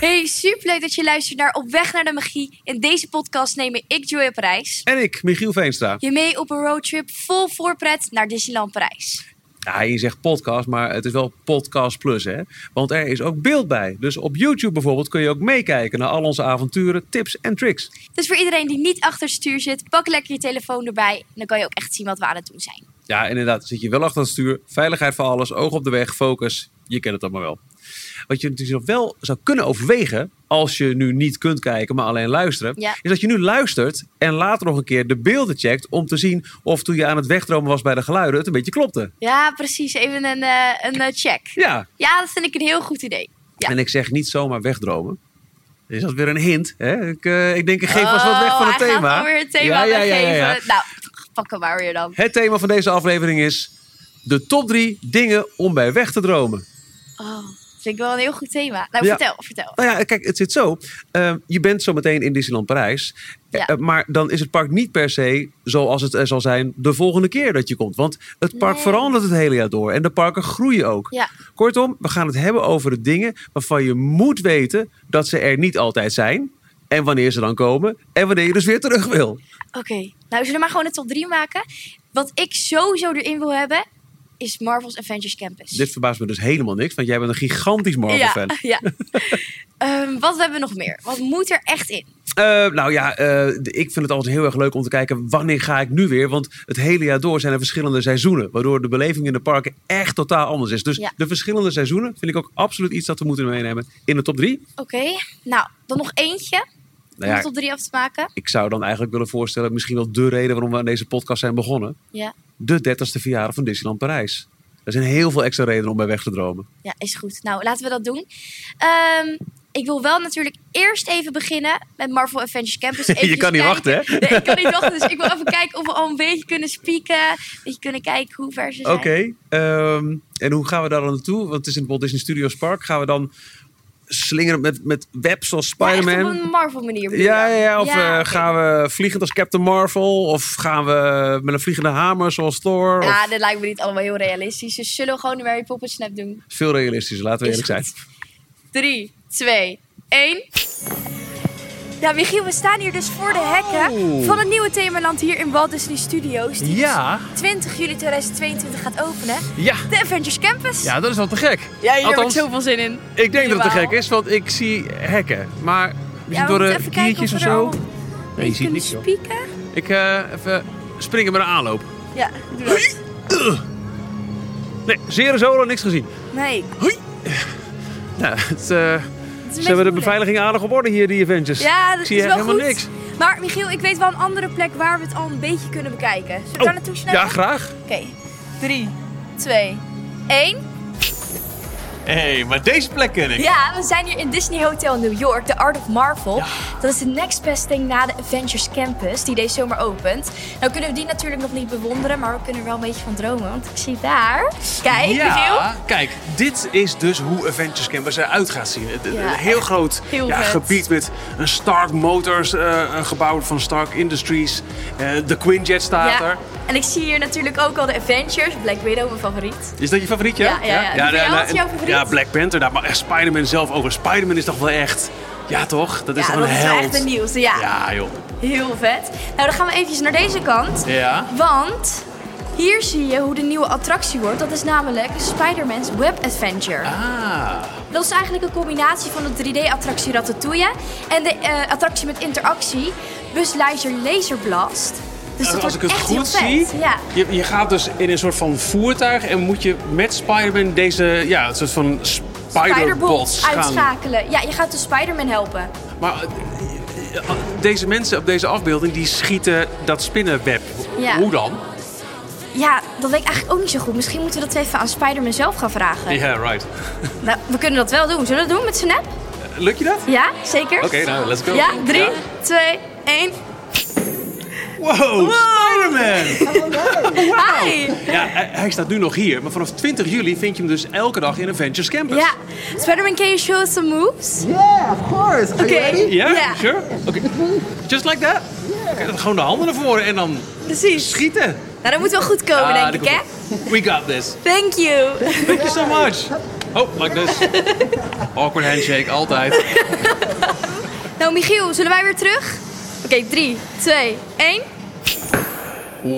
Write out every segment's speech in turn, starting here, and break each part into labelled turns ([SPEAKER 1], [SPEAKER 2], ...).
[SPEAKER 1] Hey, superleuk dat je luistert naar Op Weg naar de Magie. In deze podcast nemen ik Joy op reis.
[SPEAKER 2] En ik, Michiel Veenstra.
[SPEAKER 1] Je mee op een roadtrip vol voorpret naar Disneyland Parijs.
[SPEAKER 2] Ja, je zegt podcast, maar het is wel podcast plus, hè? Want er is ook beeld bij. Dus op YouTube bijvoorbeeld kun je ook meekijken naar al onze avonturen, tips en tricks.
[SPEAKER 1] Dus voor iedereen die niet achter het stuur zit, pak lekker je telefoon erbij. En dan kan je ook echt zien wat we aan het doen zijn.
[SPEAKER 2] Ja, inderdaad. Zit je wel achter het stuur. Veiligheid voor alles. Oog op de weg. Focus. Je kent het allemaal wel. Wat je natuurlijk nog wel zou kunnen overwegen. Als je nu niet kunt kijken, maar alleen luisteren.
[SPEAKER 1] Ja.
[SPEAKER 2] Is dat je nu luistert en later nog een keer de beelden checkt. Om te zien of toen je aan het wegdromen was bij de geluiden. Het een beetje klopte.
[SPEAKER 1] Ja, precies. Even een, eh, een eh, check.
[SPEAKER 2] Ja.
[SPEAKER 1] Ja, dat vind ik een heel goed idee. Ja.
[SPEAKER 2] En ik zeg niet zomaar wegdromen. Is dat weer een hint? Hè? Ik, eh, ik denk, ik geef vast wat weg van
[SPEAKER 1] Oh,
[SPEAKER 2] het
[SPEAKER 1] hij
[SPEAKER 2] thema.
[SPEAKER 1] Gaat alweer het thema weggeven. Nou, pak hem maar weer dan.
[SPEAKER 2] Het thema van deze aflevering is de top drie dingen om bij weg te dromen.
[SPEAKER 1] Oh, vind ik wel een heel goed thema. Nou,
[SPEAKER 2] Ja.
[SPEAKER 1] vertel, vertel.
[SPEAKER 2] Nou ja, kijk, het zit zo. Eh, je bent zometeen in Disneyland Parijs.
[SPEAKER 1] Ja.
[SPEAKER 2] Eh, maar dan is het park niet per se zoals het er zal zijn de volgende keer dat je komt. Want het park
[SPEAKER 1] Nee.
[SPEAKER 2] verandert het hele jaar door. En de parken groeien ook.
[SPEAKER 1] Ja.
[SPEAKER 2] Kortom, we gaan het hebben over de dingen waarvan je moet weten dat ze er niet altijd zijn. En wanneer ze dan komen. En wanneer je dus weer terug wil.
[SPEAKER 1] Oké, nou zullen we maar gewoon een top 3 maken. Wat ik sowieso erin wil hebben, is Marvel's Avengers Campus.
[SPEAKER 2] Dit verbaast me dus helemaal niks. Want jij bent een gigantisch
[SPEAKER 1] ja,
[SPEAKER 2] Marvel-fan.
[SPEAKER 1] Ja. Ehm, wat hebben we nog meer? Wat moet er echt in?
[SPEAKER 2] Eh, nou ja, eh, d- ik vind het altijd heel erg leuk om te kijken wanneer ga ik nu weer. Want het hele jaar door zijn er verschillende seizoenen. Waardoor de beleving in de parken echt totaal anders is. Dus
[SPEAKER 1] Ja.
[SPEAKER 2] de verschillende seizoenen vind ik ook absoluut iets dat we moeten meenemen in de top drie.
[SPEAKER 1] Oké, nou, dan nog eentje om
[SPEAKER 2] Nou ja,
[SPEAKER 1] de top 3 af te maken.
[SPEAKER 2] ik zou dan eigenlijk willen voorstellen, misschien wel de reden waarom we aan deze podcast zijn begonnen.
[SPEAKER 1] Ja.
[SPEAKER 2] De 30ste verjaardag van Disneyland Parijs. Er zijn heel veel extra redenen om bij weg te dromen.
[SPEAKER 1] ja, is goed. Nou, laten we dat doen. Ehm, ik wil wel natuurlijk eerst even beginnen met Marvel Avengers Campus. Eventjes
[SPEAKER 2] kan niet
[SPEAKER 1] kijken.
[SPEAKER 2] wachten, hè?
[SPEAKER 1] Nee, ik kan niet wachten, dus ik wil even kijken of we al een beetje kunnen spieken. Een beetje kunnen kijken hoe ver ze
[SPEAKER 2] Oké,
[SPEAKER 1] zijn.
[SPEAKER 2] ehm, en hoe gaan we daar dan naartoe? Want het is in het Walt Disney Studios Park. Gaan we dan slingeren met, met webs als
[SPEAKER 1] Maar echt
[SPEAKER 2] Spider-Man?
[SPEAKER 1] op een Marvel manier. bedoel
[SPEAKER 2] Ja, ja,
[SPEAKER 1] je?
[SPEAKER 2] ja, of eh,
[SPEAKER 1] oké.
[SPEAKER 2] gaan we vliegend als Captain Marvel? Of gaan we met een vliegende hamer zoals Thor? Of-
[SPEAKER 1] Ja, dat lijkt me niet allemaal heel realistisch. Dus zullen we gewoon de Mary Poppins snap doen?
[SPEAKER 2] Veel realistischer, laten we
[SPEAKER 1] Is
[SPEAKER 2] eerlijk zijn.
[SPEAKER 1] goed. 3, 2, 1. Ja, Michiel, we staan hier dus voor de hekken
[SPEAKER 2] Oh.
[SPEAKER 1] van het nieuwe themaland hier in Walt Disney Studios. Die
[SPEAKER 3] Ja,
[SPEAKER 1] 20 juli 2022 gaat openen.
[SPEAKER 2] Ja,
[SPEAKER 1] De Avengers Campus.
[SPEAKER 3] ja, dat is wel te gek.
[SPEAKER 1] ja hier heb ik
[SPEAKER 2] Althans,
[SPEAKER 1] zoveel zin in.
[SPEAKER 2] ik denk dat het te
[SPEAKER 1] Helemaal.
[SPEAKER 2] gek is, want ik zie hekken. Maar misschien
[SPEAKER 1] Ja, we
[SPEAKER 2] door
[SPEAKER 1] moeten
[SPEAKER 2] de
[SPEAKER 1] even kijken of
[SPEAKER 2] kiertjes
[SPEAKER 1] we
[SPEAKER 2] of
[SPEAKER 1] er
[SPEAKER 2] zo.
[SPEAKER 1] allemaal
[SPEAKER 2] Nee, je ziet
[SPEAKER 1] kunnen
[SPEAKER 2] niks joh.
[SPEAKER 1] spieken.
[SPEAKER 2] Ik eh, even springen met een aanloop.
[SPEAKER 1] Ja, doe dat.
[SPEAKER 2] Nee, zere zolen, niks gezien.
[SPEAKER 1] Nee.
[SPEAKER 2] Nou, het,
[SPEAKER 1] het
[SPEAKER 2] eh,
[SPEAKER 1] is een
[SPEAKER 2] ze hebben de
[SPEAKER 1] beetje moeilijk.
[SPEAKER 2] beveiliging aardig op orde hier, die Avengers.
[SPEAKER 1] Ja, dat
[SPEAKER 2] Ik zie
[SPEAKER 1] is
[SPEAKER 2] echt
[SPEAKER 1] wel
[SPEAKER 2] helemaal
[SPEAKER 1] goed.
[SPEAKER 2] niks.
[SPEAKER 1] Maar Michiel, ik weet wel een andere plek waar we het al een beetje kunnen bekijken. Zullen we daar naartoe snel?
[SPEAKER 2] Oh, ja, graag.
[SPEAKER 1] Oké. 3, 2, 1.
[SPEAKER 3] Hé, maar deze plek ken ik.
[SPEAKER 1] Ja, we zijn hier in Disney Hotel New York, de Art of Marvel. Dat is de next best thing na de Avengers Campus, die deze zomer opent. Nou kunnen we die natuurlijk nog niet bewonderen, maar we kunnen er wel een beetje van dromen. Want ik zie daar, kijk Michiel.
[SPEAKER 3] kijk, dit is dus hoe Avengers Campus eruit gaat zien. Het- het-
[SPEAKER 1] Ja,
[SPEAKER 3] een heel
[SPEAKER 1] echt
[SPEAKER 3] groot
[SPEAKER 1] heel
[SPEAKER 3] ja,
[SPEAKER 1] vet.
[SPEAKER 3] gebied met een Stark Motors, eh, een gebouw van Stark Industries. eh, de Quinjet staat er.
[SPEAKER 1] en ik zie hier natuurlijk ook al de Avengers, Black Widow, mijn favoriet.
[SPEAKER 3] Is dat je favoriet, ja? nou,
[SPEAKER 1] Ja, ja, ja. Die van jou, wat is jouw favoriet?
[SPEAKER 3] ja, Black Panther. Daar, maar echt Spider-Man zelf over. Spider-Man is toch wel echt... Ja, toch? Dat is
[SPEAKER 1] ja,
[SPEAKER 3] toch
[SPEAKER 1] dat
[SPEAKER 3] Dus een
[SPEAKER 1] is wel
[SPEAKER 3] held?
[SPEAKER 1] echt de nieuwste, ja.
[SPEAKER 3] Ja, joh.
[SPEAKER 1] Heel vet. Nou, dan gaan we eventjes naar deze kant.
[SPEAKER 3] Ja.
[SPEAKER 1] Want hier zie je hoe de nieuwe attractie wordt. Dat is namelijk Spider-Man's Web Adventure.
[SPEAKER 3] Ah.
[SPEAKER 1] Dat is eigenlijk een combinatie van de 3D-attractie Ratatouille en de eh, attractie met interactie, Bus Laser Laser Blast. Dus dat
[SPEAKER 3] als
[SPEAKER 1] wordt
[SPEAKER 3] ik het
[SPEAKER 1] echt heel
[SPEAKER 3] goed
[SPEAKER 1] vet.
[SPEAKER 3] zie,
[SPEAKER 1] Ja.
[SPEAKER 3] je, je gaat dus in een soort van voertuig en moet je met Spider-Man deze, ja, een soort van
[SPEAKER 1] Spider-Bots
[SPEAKER 3] Spider-Bots gaan.
[SPEAKER 1] uitschakelen. Ja, je gaat de Spider-Man helpen.
[SPEAKER 3] Maar eh, eh, deze mensen op deze afbeelding, die schieten dat spinnenweb.
[SPEAKER 1] Ja.
[SPEAKER 3] Hoe dan?
[SPEAKER 1] Ja, dat weet ik eigenlijk ook niet zo goed. Misschien moeten we dat even aan Spider-Man zelf gaan vragen.
[SPEAKER 3] Ja, right.
[SPEAKER 1] Nou, we kunnen dat wel doen. Zullen we dat doen met Snap?
[SPEAKER 3] Lukt je dat?
[SPEAKER 1] Ja, zeker?
[SPEAKER 3] Oké, nou, let's go.
[SPEAKER 1] Ja, 3, 2, 1.
[SPEAKER 3] Wow, Spider-Man!
[SPEAKER 1] Hi!
[SPEAKER 3] Ja, hij, hij staat nu nog hier, maar vanaf 20 juli vind je hem dus elke dag in Adventures Campus.
[SPEAKER 1] Ja, Spider-Man, can you show us some moves?
[SPEAKER 4] Yeah, of course. Are you
[SPEAKER 1] Okay.
[SPEAKER 4] ready?
[SPEAKER 3] Ja?
[SPEAKER 1] Ja.
[SPEAKER 3] Sure? Oké. Just like that? Oké, dan gewoon de handen naar voren en dan
[SPEAKER 1] Precies.
[SPEAKER 3] schieten.
[SPEAKER 1] Nou, dat moet wel goed komen,
[SPEAKER 3] Ah,
[SPEAKER 1] denk ik,
[SPEAKER 3] daar
[SPEAKER 1] hè?
[SPEAKER 3] komt- We got this.
[SPEAKER 1] Thank you.
[SPEAKER 3] Thank you so much.
[SPEAKER 5] Oh, like this. Awkward handshake, altijd.
[SPEAKER 1] Nou, Michiel, zullen wij weer terug? Oké, 3, 2, 1.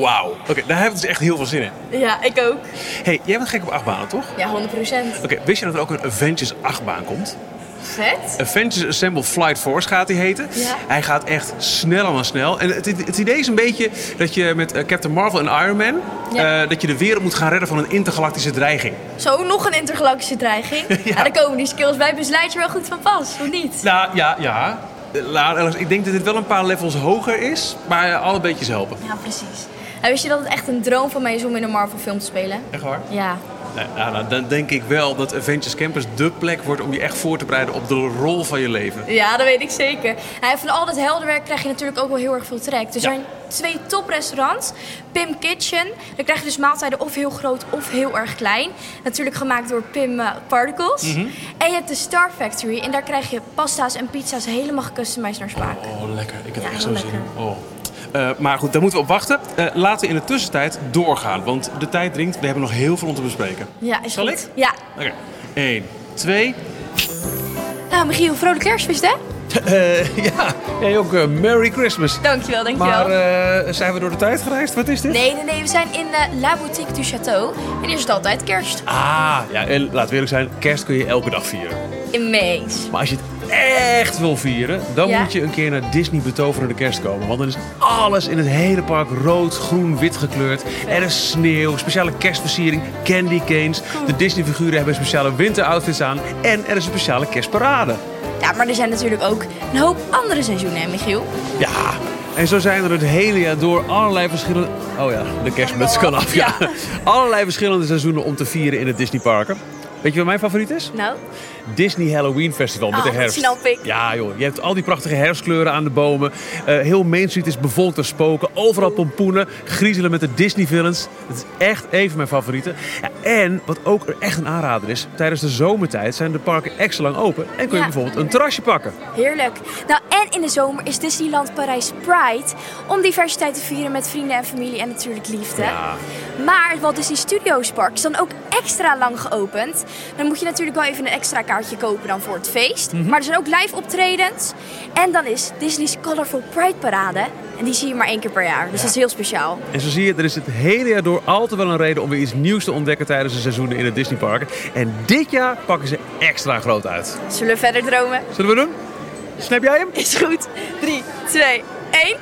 [SPEAKER 2] Wauw. Oké, daar hebben we dus echt heel veel zin in.
[SPEAKER 1] Ja, ik ook.
[SPEAKER 2] hey, jij bent gek op achtbanen, toch?
[SPEAKER 1] Ja, 100%.
[SPEAKER 2] Oké, wist je dat er ook een Avengers achtbaan komt?
[SPEAKER 1] Vet.
[SPEAKER 2] Avengers Assemble Flight Force gaat hij heten.
[SPEAKER 1] Ja.
[SPEAKER 2] Hij gaat echt sneller dan snel. En het, het idee is een beetje dat je met eh, Captain Marvel en Iron Man...
[SPEAKER 1] Ja.
[SPEAKER 2] eh, dat je de wereld moet gaan redden van een intergalactische dreiging.
[SPEAKER 1] Zo, nog een intergalactische dreiging. ja. daar komen die skills bij besluit je wel goed van pas, of niet?
[SPEAKER 2] Nou, ja, ja. Eh, laat- Alex, ik denk dat dit wel een paar levels hoger is, maar eh, alle beetjes helpen.
[SPEAKER 1] Ja, precies. En wist je dat het echt een droom van mij is om in een Marvel film te spelen?
[SPEAKER 2] Echt waar?
[SPEAKER 1] Ja.
[SPEAKER 2] Nou, nou, nou, dan denk ik wel dat Avengers Campus de plek wordt om je echt voor te bereiden op de rol van je leven.
[SPEAKER 1] Ja, dat weet ik zeker. En van al dat helderwerk krijg je natuurlijk ook wel heel erg veel trek. Er
[SPEAKER 2] Ja.
[SPEAKER 1] zijn twee toprestaurants. Pim Kitchen. Daar krijg je dus maaltijden of heel groot of heel erg klein. Natuurlijk gemaakt door Pim eh, Particles.
[SPEAKER 2] Mhm.
[SPEAKER 1] En je hebt de Star Factory. En daar krijg je pasta's en pizza's helemaal gecustomized naar smaak.
[SPEAKER 2] Oh, lekker. Ik heb
[SPEAKER 1] Ja,
[SPEAKER 2] er echt zo
[SPEAKER 1] heel
[SPEAKER 2] zin
[SPEAKER 1] lekker.
[SPEAKER 2] in. Oh. Eh, maar goed, daar moeten we op wachten. Eh, laten we in de tussentijd doorgaan, want de tijd dringt. We hebben nog heel veel om te bespreken.
[SPEAKER 1] Ja, is
[SPEAKER 2] Zal
[SPEAKER 1] goed.
[SPEAKER 2] ik?
[SPEAKER 1] Ja.
[SPEAKER 2] Oké. Eén, twee.
[SPEAKER 1] Nou, Michiel, vrolijk kerstfeest, hè?
[SPEAKER 2] Eh, ja, jij ook eh, Merry Christmas.
[SPEAKER 1] Dankjewel, dankjewel.
[SPEAKER 2] Maar eh, zijn we door de tijd gereisd? Wat is dit?
[SPEAKER 1] Nee, nee, nee. We zijn in eh, La Boutique du Château. En hier is het altijd kerst.
[SPEAKER 2] Ah, ja, en laten we eerlijk zijn, kerst kun je elke dag vieren.
[SPEAKER 1] Immens.
[SPEAKER 2] Maar als je het echt wil vieren, dan
[SPEAKER 1] Ja.
[SPEAKER 2] moet je een keer naar Disney betoverende kerst komen. Want dan is alles in het hele park rood, groen, wit gekleurd. Er is sneeuw, speciale kerstversiering, candy canes. De Disney-figuren hebben speciale winteroutfits aan. En er is een speciale kerstparade.
[SPEAKER 1] Ja, maar er zijn natuurlijk ook een hoop andere seizoenen, hè, Michiel?
[SPEAKER 2] Ja, en zo zijn er het hele jaar door allerlei verschillende... Oh ja, de kerstmuts kan af, ja. Allerlei verschillende seizoenen om te vieren in het Disneyparken. Weet je wat mijn favoriet is?
[SPEAKER 1] Nou,
[SPEAKER 2] Disney Halloween Festival met
[SPEAKER 1] Ah,
[SPEAKER 2] de
[SPEAKER 1] dat
[SPEAKER 2] herfst.
[SPEAKER 1] snap ik.
[SPEAKER 2] Ja, joh. Je hebt al die prachtige herfstkleuren aan de bomen. Eh, heel Main Street is bevolkt door spoken. Overal pompoenen. Griezelen met de Disney villains. Dat is echt een van mijn favorieten. Ja, en wat ook echt een aanrader is. Tijdens de zomertijd zijn de parken extra lang open. En kun
[SPEAKER 1] Ja.
[SPEAKER 2] je bijvoorbeeld een terrasje pakken.
[SPEAKER 1] Heerlijk. Nou, en in de zomer is Disneyland Parijs Pride om diversiteit te vieren met vrienden en familie en natuurlijk liefde.
[SPEAKER 2] Ja.
[SPEAKER 1] Maar het Walt Disney Studios Park is dan ook extra lang geopend. Dan moet je natuurlijk wel even een extra kaartje kopen dan voor het feest. Maar er zijn ook live optredens. En dan is Disney's Colorful Pride Parade. En die zie je maar één keer per jaar. Dus dat is heel speciaal.
[SPEAKER 2] En zo zie je, er is het hele jaar door altijd wel een reden om weer iets nieuws te ontdekken tijdens de seizoenen in het Disneyparken. En dit jaar pakken ze extra groot uit.
[SPEAKER 1] Zullen we verder dromen?
[SPEAKER 2] Zullen we doen? Snap jij hem?
[SPEAKER 1] Is goed. 3, 2, 1.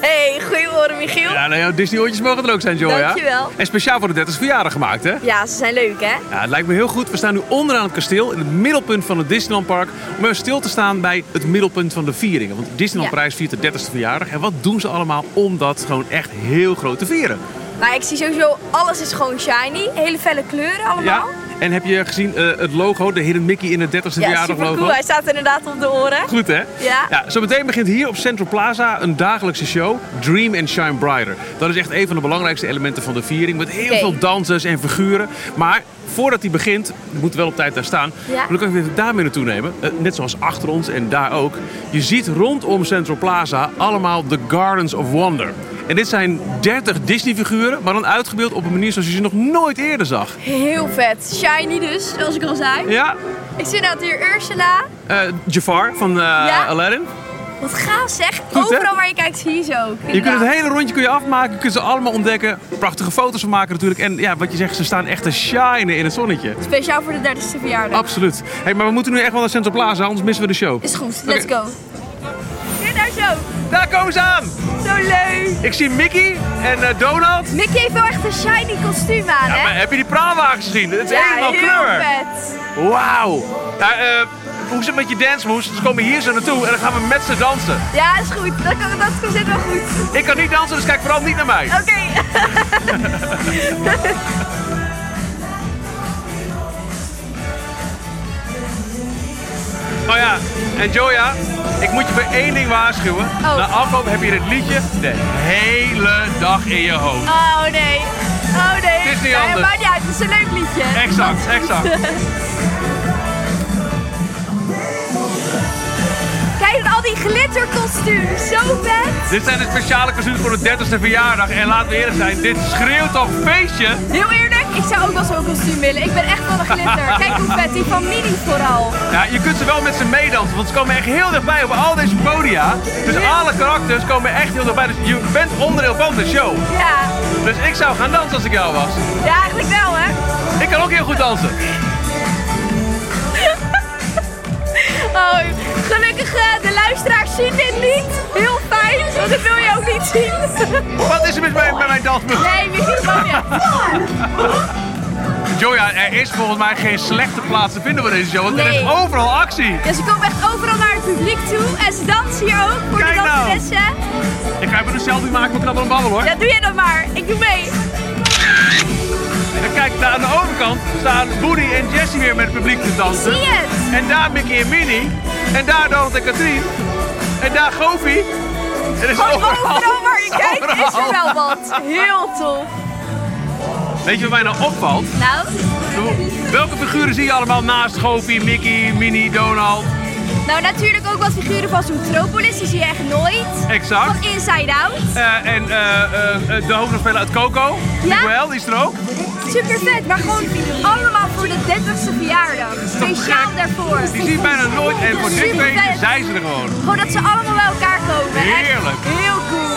[SPEAKER 1] Hey, goeie horen Michiel.
[SPEAKER 2] Ja, nou, jouw Disney-oortjes mogen er ook zijn, Joy.
[SPEAKER 1] Dankjewel.
[SPEAKER 2] En speciaal voor de 30 verjaardag gemaakt, hè?
[SPEAKER 1] ja, ze zijn leuk hè?
[SPEAKER 2] Ja, het lijkt me heel goed. We staan nu onderaan het kasteel, in het middelpunt van het Disneylandpark. Om even stil te staan bij het middelpunt van de vieringen. Want Disneyland
[SPEAKER 1] Ja.
[SPEAKER 2] Parijs viert de 30ste verjaardag. En wat doen ze allemaal om dat gewoon echt heel groot te vieren?
[SPEAKER 1] Maar ik zie sowieso, alles is gewoon shiny. Hele felle kleuren allemaal.
[SPEAKER 2] En heb je gezien eh, het logo, de Hidden Mickey in het 30ste verjaardag
[SPEAKER 1] super
[SPEAKER 2] logo?
[SPEAKER 1] cool. Hij staat inderdaad op de oren.
[SPEAKER 2] Goed hè?
[SPEAKER 1] Ja.
[SPEAKER 2] Zometeen begint hier op Central Plaza een dagelijkse show, Dream and Shine Brighter. Dat is echt een van de belangrijkste elementen van de viering, met heel
[SPEAKER 1] Oké.
[SPEAKER 2] veel dansers en figuren. Maar voordat die begint, je moet wel op tijd daar staan,
[SPEAKER 1] Ja.
[SPEAKER 2] maar dan kan ik even daar mee naartoe nemen. Eh, net zoals achter ons en daar ook. Je ziet rondom Central Plaza allemaal de Gardens of Wonder. En dit zijn 30 Disney-figuren, maar dan uitgebeeld op een manier zoals je ze nog nooit eerder zag.
[SPEAKER 1] Heel vet. Shiny dus, zoals ik al zei.
[SPEAKER 2] Ja,
[SPEAKER 1] Ik zie inderdaad hier Ursula.
[SPEAKER 2] eh, Jafar van eh,
[SPEAKER 1] Ja.
[SPEAKER 2] Aladdin.
[SPEAKER 1] Wat gaaf zeg.
[SPEAKER 2] hè?
[SPEAKER 1] Overal waar je kijkt zie je ze ook.
[SPEAKER 2] Je kunt het
[SPEAKER 1] inderdaad.
[SPEAKER 2] hele rondje kun je afmaken, je kunt ze allemaal ontdekken. Prachtige foto's van maken natuurlijk. En ja, wat je zegt, ze staan echt te shinen in het zonnetje.
[SPEAKER 1] Speciaal voor de 30ste verjaardag.
[SPEAKER 2] Absoluut. hey, maar we moeten nu echt wel naar Central Plaza, anders missen we de show.
[SPEAKER 1] Is goed, let's
[SPEAKER 2] Oké.
[SPEAKER 1] go. Hier daar zo.
[SPEAKER 2] Daar komen ze aan!
[SPEAKER 1] Zo leuk.
[SPEAKER 2] Ik zie Mickey en eh, Donald.
[SPEAKER 1] Mickey heeft wel echt een shiny kostuum aan,
[SPEAKER 2] Ja,
[SPEAKER 1] hè?
[SPEAKER 2] maar heb je die praalwagen gezien? Het is
[SPEAKER 1] Ja,
[SPEAKER 2] helemaal
[SPEAKER 1] heel
[SPEAKER 2] kleur.
[SPEAKER 1] vet.
[SPEAKER 2] Wauw. Ja, eh, hoe zit het met je dance moves? Ze komen hier zo naartoe en dan gaan we met ze dansen.
[SPEAKER 1] Ja, is goed. Dat, kan, dat komt zit wel goed.
[SPEAKER 2] Ik kan niet dansen, dus kijk vooral niet naar mij.
[SPEAKER 1] Oké.
[SPEAKER 2] Oh ja, en Joja, ik moet je voor één ding waarschuwen.
[SPEAKER 1] Oh.
[SPEAKER 2] Na afloop heb je dit liedje de hele dag in je hoofd.
[SPEAKER 1] Oh nee. Oh nee.
[SPEAKER 2] Het is niet
[SPEAKER 1] Nee,
[SPEAKER 2] anders.
[SPEAKER 1] maakt niet uit. Het is een leuk liedje.
[SPEAKER 2] Exact, exact.
[SPEAKER 1] Kijk dan al die glitterkostuums. Zo vet.
[SPEAKER 2] Dit zijn de speciale kostuums voor de 30ste verjaardag. En laten we eerlijk zijn, dit schreeuwt toch feestje?
[SPEAKER 1] Heel eerlijk. ik zou ook wel zo'n kostuum willen. Ik ben echt van de glitter. Kijk hoe vet, die familie vooral.
[SPEAKER 6] Ja, je kunt ze wel met ze meedansen, want ze komen echt heel dichtbij op al deze podia. Dus alle karakters komen echt heel dichtbij. Dus je bent onderdeel van de show.
[SPEAKER 1] Ja,
[SPEAKER 6] Dus ik zou gaan dansen als ik jou was.
[SPEAKER 1] ja eigenlijk wel hè.
[SPEAKER 6] Ik kan ook heel goed dansen.
[SPEAKER 1] Oh, gelukkig eh, de luisteraars zien dit niet. Heel fijn, want dat wil je ook niet zien.
[SPEAKER 6] Wat is er mis bij, bij mijn dansmove?
[SPEAKER 1] Nee, microfoon niet.
[SPEAKER 6] Joya, er is volgens mij geen slechte plaats te vinden voor deze show, want er is
[SPEAKER 1] Nee.
[SPEAKER 6] overal actie.
[SPEAKER 1] Ja, ze komt echt overal naar het publiek toe. En ze dansen hier ook voor
[SPEAKER 6] Kijk
[SPEAKER 1] de
[SPEAKER 6] nou.
[SPEAKER 1] danseressen.
[SPEAKER 6] Ik ga even een selfie maken met Knabbel en Babbel hoor.
[SPEAKER 1] Ja, doe jij dat maar. Ik doe mee.
[SPEAKER 6] En kijk, daar aan de overkant staan Woody en Jessie weer met het publiek te dansen.
[SPEAKER 1] Ik zie het.
[SPEAKER 6] En daar Mickey en Minnie. En daar Donald en Katrien. En daar Goofy. Er is
[SPEAKER 1] Gewoon
[SPEAKER 6] overal.
[SPEAKER 1] overal waar je kijkt is er wel wat. Heel tof.
[SPEAKER 6] Weet je wat mij nou opvalt?
[SPEAKER 1] Nou,
[SPEAKER 6] Welke figuren zie je allemaal naast Goofy, Mickey, Minnie, Donald?
[SPEAKER 1] nou natuurlijk ook wat figuren van Zootropolis. Die zie je echt nooit.
[SPEAKER 6] Exact.
[SPEAKER 1] Van Inside Out.
[SPEAKER 6] Eh, en eh, eh, eh, de hoofdrolspeler uit Coco,
[SPEAKER 1] Ja.
[SPEAKER 6] Miguel, die is er ook.
[SPEAKER 1] Super vet, maar gewoon allemaal voor de 30ste verjaardag. Speciaal daarvoor.
[SPEAKER 6] Die zie je bijna nooit. En voor dit
[SPEAKER 1] Super
[SPEAKER 6] feestje
[SPEAKER 1] vet.
[SPEAKER 6] zijn ze er gewoon.
[SPEAKER 1] Gewoon dat ze allemaal bij elkaar komen. Echt
[SPEAKER 6] Heerlijk.
[SPEAKER 1] Heel cool.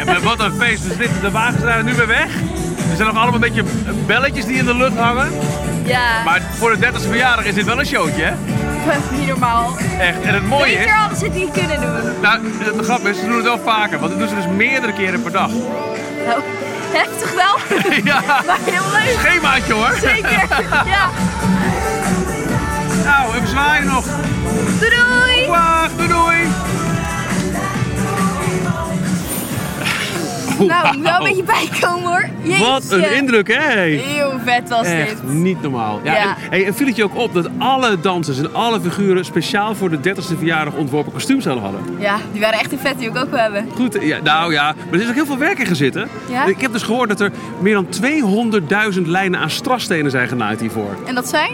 [SPEAKER 6] En eh, wat een feest. Dus dit, de wagens zijn er nu weer weg. Er zijn nog allemaal een beetje belletjes die in de lucht hangen.
[SPEAKER 1] Ja,
[SPEAKER 6] Maar voor de 30ste verjaardag is dit wel een showtje, hè?
[SPEAKER 1] niet normaal.
[SPEAKER 6] Echt. En het mooie is...
[SPEAKER 1] Beter hadden ze het niet kunnen doen.
[SPEAKER 6] Nou, de grap is, ze doen het wel vaker. Want dat doen ze dus meerdere keren per dag.
[SPEAKER 1] Nou, heftig wel,
[SPEAKER 6] ja,
[SPEAKER 1] maar heel leuk.
[SPEAKER 6] schemaatje hoor.
[SPEAKER 1] Zeker. Ja.
[SPEAKER 6] Nou, even zwaaien nog.
[SPEAKER 1] Doei doei.
[SPEAKER 6] Waag, doei doei.
[SPEAKER 1] Nou, wel een beetje bijkomen hoor. Jeetje.
[SPEAKER 7] Wat een indruk, hè?
[SPEAKER 1] Heel vet was
[SPEAKER 7] Echt
[SPEAKER 1] dit.
[SPEAKER 7] niet normaal. Ja,
[SPEAKER 1] Ja.
[SPEAKER 7] En, hey, en viel het je ook op dat alle dansers en alle figuren speciaal voor de 30ste verjaardag ontworpen kostuums hadden? hadden?
[SPEAKER 1] Ja, die waren echt een vet die wil ik ook wil hebben.
[SPEAKER 7] Goed, ja, nou ja, maar er is ook heel veel werk in gezitten.
[SPEAKER 1] Ja?
[SPEAKER 7] Ik heb dus gehoord dat er meer dan 200.000 lijnen aan strasstenen zijn genaaid hiervoor.
[SPEAKER 1] En dat zijn?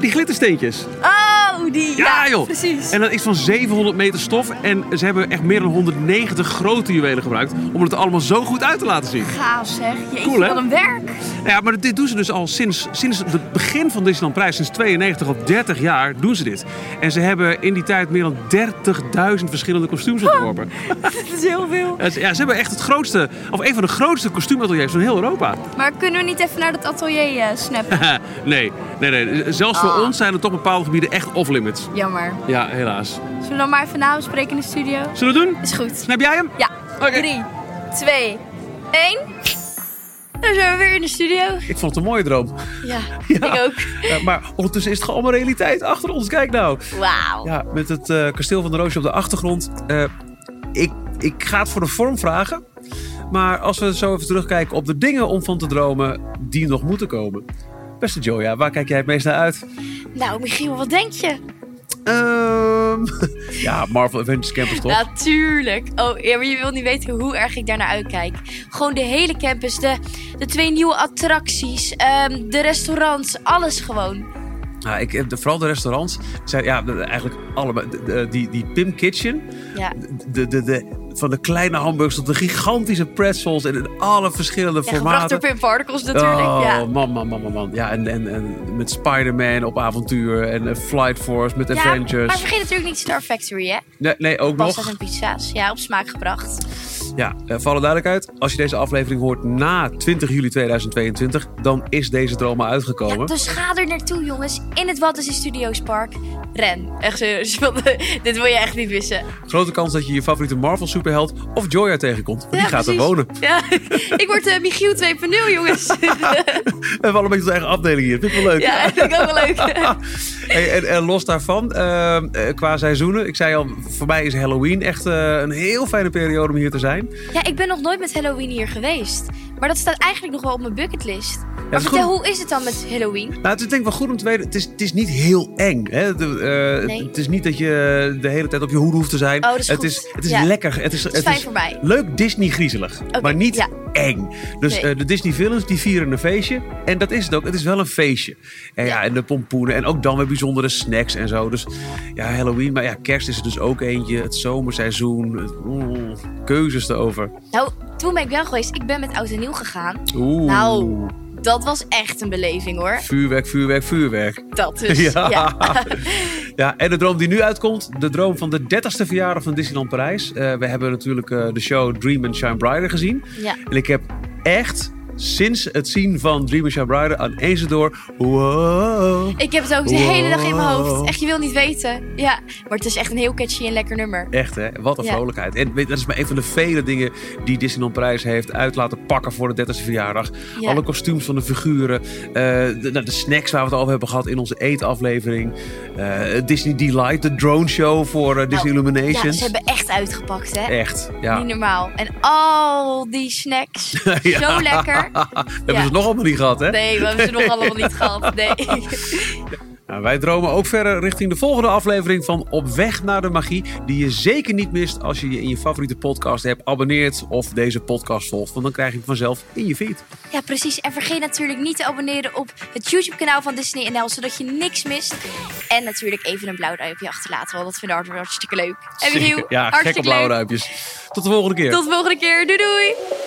[SPEAKER 7] Die glittersteentjes.
[SPEAKER 1] Oh, die. Ja,
[SPEAKER 7] joh.
[SPEAKER 1] Precies.
[SPEAKER 7] En dat is van 700 meter stof. En ze hebben echt meer dan 190 grote juwelen gebruikt om het er allemaal zo goed uit te laten zien.
[SPEAKER 1] Gaaf zeg. Jeetje,
[SPEAKER 7] Cool, hè?
[SPEAKER 1] wat een werk.
[SPEAKER 7] Nou ja, maar dit doen ze dus al sinds, sinds het begin van Disneyland Prijs, sinds 92, al 30 jaar doen ze dit. En ze hebben in die tijd meer dan 30.000 verschillende kostuums ontworpen.
[SPEAKER 1] Dat is heel veel.
[SPEAKER 7] Ja, ze ja, ze hebben echt het grootste, of een van de grootste kostuumateliers van heel Europa.
[SPEAKER 1] Maar kunnen we niet even naar dat atelier eh, snappen?
[SPEAKER 7] nee, nee, nee. Zelfs voor
[SPEAKER 1] Ah.
[SPEAKER 7] ons zijn er toch bepaalde gebieden echt off-limits.
[SPEAKER 1] Jammer.
[SPEAKER 7] Ja, helaas.
[SPEAKER 1] Zullen we dan maar even nabespreken in de studio?
[SPEAKER 7] Zullen we het doen?
[SPEAKER 1] Is goed.
[SPEAKER 7] Snap jij hem?
[SPEAKER 1] Ja.
[SPEAKER 7] Oké.
[SPEAKER 1] 3, 2, 1. Dan zijn we weer in de studio.
[SPEAKER 2] Ik vond het een mooie droom.
[SPEAKER 1] Ja, ik ook.
[SPEAKER 2] Ja, Eh, maar ondertussen is het gewoon allemaal realiteit achter ons. Kijk nou.
[SPEAKER 1] Wauw.
[SPEAKER 2] Ja, met het eh, kasteel van de Roosje op de achtergrond. Eh, ik, ik ga het voor de vorm vragen. Maar als we zo even terugkijken op de dingen om van te dromen die nog moeten komen. Beste Joja, waar kijk jij het meest naar uit?
[SPEAKER 1] Nou, Michiel, wat denk je?
[SPEAKER 2] Ehm, ja, Marvel Avengers Campus toch?
[SPEAKER 1] Natuurlijk. Oh, ja, maar je wilt niet weten hoe erg ik daarnaar uitkijk. Gewoon de hele campus, de, de twee nieuwe attracties, ehm, de restaurants, alles gewoon.
[SPEAKER 2] Ja, ik, heb de- vooral de restaurants. Zijn, ja, de- eigenlijk allemaal. De- de- die, die Pim Kitchen.
[SPEAKER 1] Ja.
[SPEAKER 2] De, de, de, van de kleine hamburgers tot de gigantische pretzels. En in alle verschillende
[SPEAKER 1] Ja, gebracht
[SPEAKER 2] formaten.
[SPEAKER 1] door Pim Particles natuurlijk.
[SPEAKER 2] Oh,
[SPEAKER 1] Ja.
[SPEAKER 2] man, man, man, man, man. Ja, en, en, en met Spider-Man op avontuur. En eh, Flight Force met
[SPEAKER 1] Ja, maar
[SPEAKER 2] Avengers.
[SPEAKER 1] vergeet natuurlijk niet Star Factory, hè?
[SPEAKER 2] Nee, nee, ook
[SPEAKER 1] Pasta's
[SPEAKER 2] nog.
[SPEAKER 1] en pizza's. Ja, op smaak gebracht.
[SPEAKER 2] Ja, eh, voor alle duidelijkheid. Als je deze aflevering hoort na 20 juli 2022, dan is deze droom al uitgekomen.
[SPEAKER 1] Dus ga er naartoe, jongens. In het Waddenzee Studios Park. Ren. Echt serieus, want, eh, dit wil je echt niet missen.
[SPEAKER 2] Grote kans dat je je favoriete Marvel superheld of Joya tegenkomt. Want die
[SPEAKER 1] Ja,
[SPEAKER 2] gaat
[SPEAKER 1] precies.
[SPEAKER 2] er wonen.
[SPEAKER 1] Ja, ik word eh, Michiel 2.0, jongens.
[SPEAKER 2] We hebben allemaal een eigen afdeling hier. Vind ik wel leuk. Ah.
[SPEAKER 1] ja, dat vind ik ook wel leuk.
[SPEAKER 2] Hey, en, en los daarvan, eh, eh, qua seizoenen. Ik zei al, voor mij is Halloween echt eh, een heel fijne periode om hier te zijn.
[SPEAKER 1] Ja, ik ben nog nooit met Halloween hier geweest. Maar dat staat eigenlijk nog wel op mijn bucketlist.
[SPEAKER 2] is
[SPEAKER 1] maar vertel,
[SPEAKER 2] goed.
[SPEAKER 1] hoe is het dan met Halloween?
[SPEAKER 2] Nou, het is denk ik wel goed om te weten. Het is, het is niet heel eng. Hè? De, eh,
[SPEAKER 1] Nee.
[SPEAKER 2] Het is niet dat je de hele tijd op je hoede hoeft te zijn.
[SPEAKER 1] Oh, dat is
[SPEAKER 2] het
[SPEAKER 1] goed.
[SPEAKER 2] is, het is
[SPEAKER 1] Ja.
[SPEAKER 2] lekker. Het is, het
[SPEAKER 1] fijn voor mij.
[SPEAKER 2] Leuk Disney-griezelig, maar niet
[SPEAKER 1] ja.
[SPEAKER 2] eng. Dus
[SPEAKER 1] Nee.
[SPEAKER 2] eh, de Disney-films die vieren een feestje. En dat is het ook. Het is wel een feestje. En ja, en de pompoenen. En ook dan weer bijzondere snacks en zo. Dus ja, Halloween. Maar ja, kerst is er dus ook eentje. Het zomerseizoen. Het- oeh, keuzes erover.
[SPEAKER 1] Nou, toen ben ik wel geweest. Ik ben met oud en nieuw gegaan.
[SPEAKER 2] Oeh.
[SPEAKER 1] Nou, dat was echt een beleving hoor.
[SPEAKER 2] Vuurwerk, vuurwerk, vuurwerk.
[SPEAKER 1] Dat dus.
[SPEAKER 2] Ja.
[SPEAKER 1] Ja.
[SPEAKER 2] Ja, en de droom die nu uitkomt, de droom van de 30ste verjaardag van Disneyland Parijs. Eh, we hebben natuurlijk eh, de show Dream and Shine Brighter gezien.
[SPEAKER 1] Ja.
[SPEAKER 2] En ik heb echt sinds het zien van Dream and Shine Brighter aan eens door. Wow.
[SPEAKER 1] Ik heb het ook de
[SPEAKER 2] Wow.
[SPEAKER 1] hele dag in mijn hoofd. Echt, je wil niet weten. Ja, maar het is echt een heel catchy en lekker nummer.
[SPEAKER 2] Echt hè, wat een
[SPEAKER 1] Ja.
[SPEAKER 2] vrolijkheid. En weet je, dat is maar een van de vele dingen die Disneyland Parijs heeft uit laten pakken voor de 30ste verjaardag.
[SPEAKER 1] Ja.
[SPEAKER 2] Alle kostuums van de figuren, eh, de, nou, de snacks waar we het over hebben gehad in onze eetaflevering. eh, Disney Delight, de drone show voor eh, Disney
[SPEAKER 1] Nou, Ja,
[SPEAKER 2] Illuminations.
[SPEAKER 1] ze hebben echt uitgepakt, hè?
[SPEAKER 2] Echt, ja.
[SPEAKER 1] Niet normaal. En al die snacks. Zo lekker.
[SPEAKER 2] Hebben ze het nog allemaal niet gehad, hè?
[SPEAKER 1] Nee, we hebben ze nog allemaal niet gehad. Nee.
[SPEAKER 2] Nou, wij dromen ook verder richting de volgende aflevering van Op Weg naar de Magie. Die je zeker niet mist als je je in je favoriete podcast app abonneert of deze podcast volgt. Want dan krijg je hem vanzelf in je feed.
[SPEAKER 1] Ja, precies. En vergeet natuurlijk niet te abonneren op het YouTube-kanaal van Disney NL, zodat je niks mist. En natuurlijk even een blauw duimpje achterlaten, want dat vinden we hartstikke leuk. En Michiel,
[SPEAKER 2] ja,
[SPEAKER 1] hartstikke
[SPEAKER 2] gekke blauwe
[SPEAKER 1] leuk.
[SPEAKER 2] duimpjes. Tot de volgende keer.
[SPEAKER 1] Tot de volgende keer. Doei doei!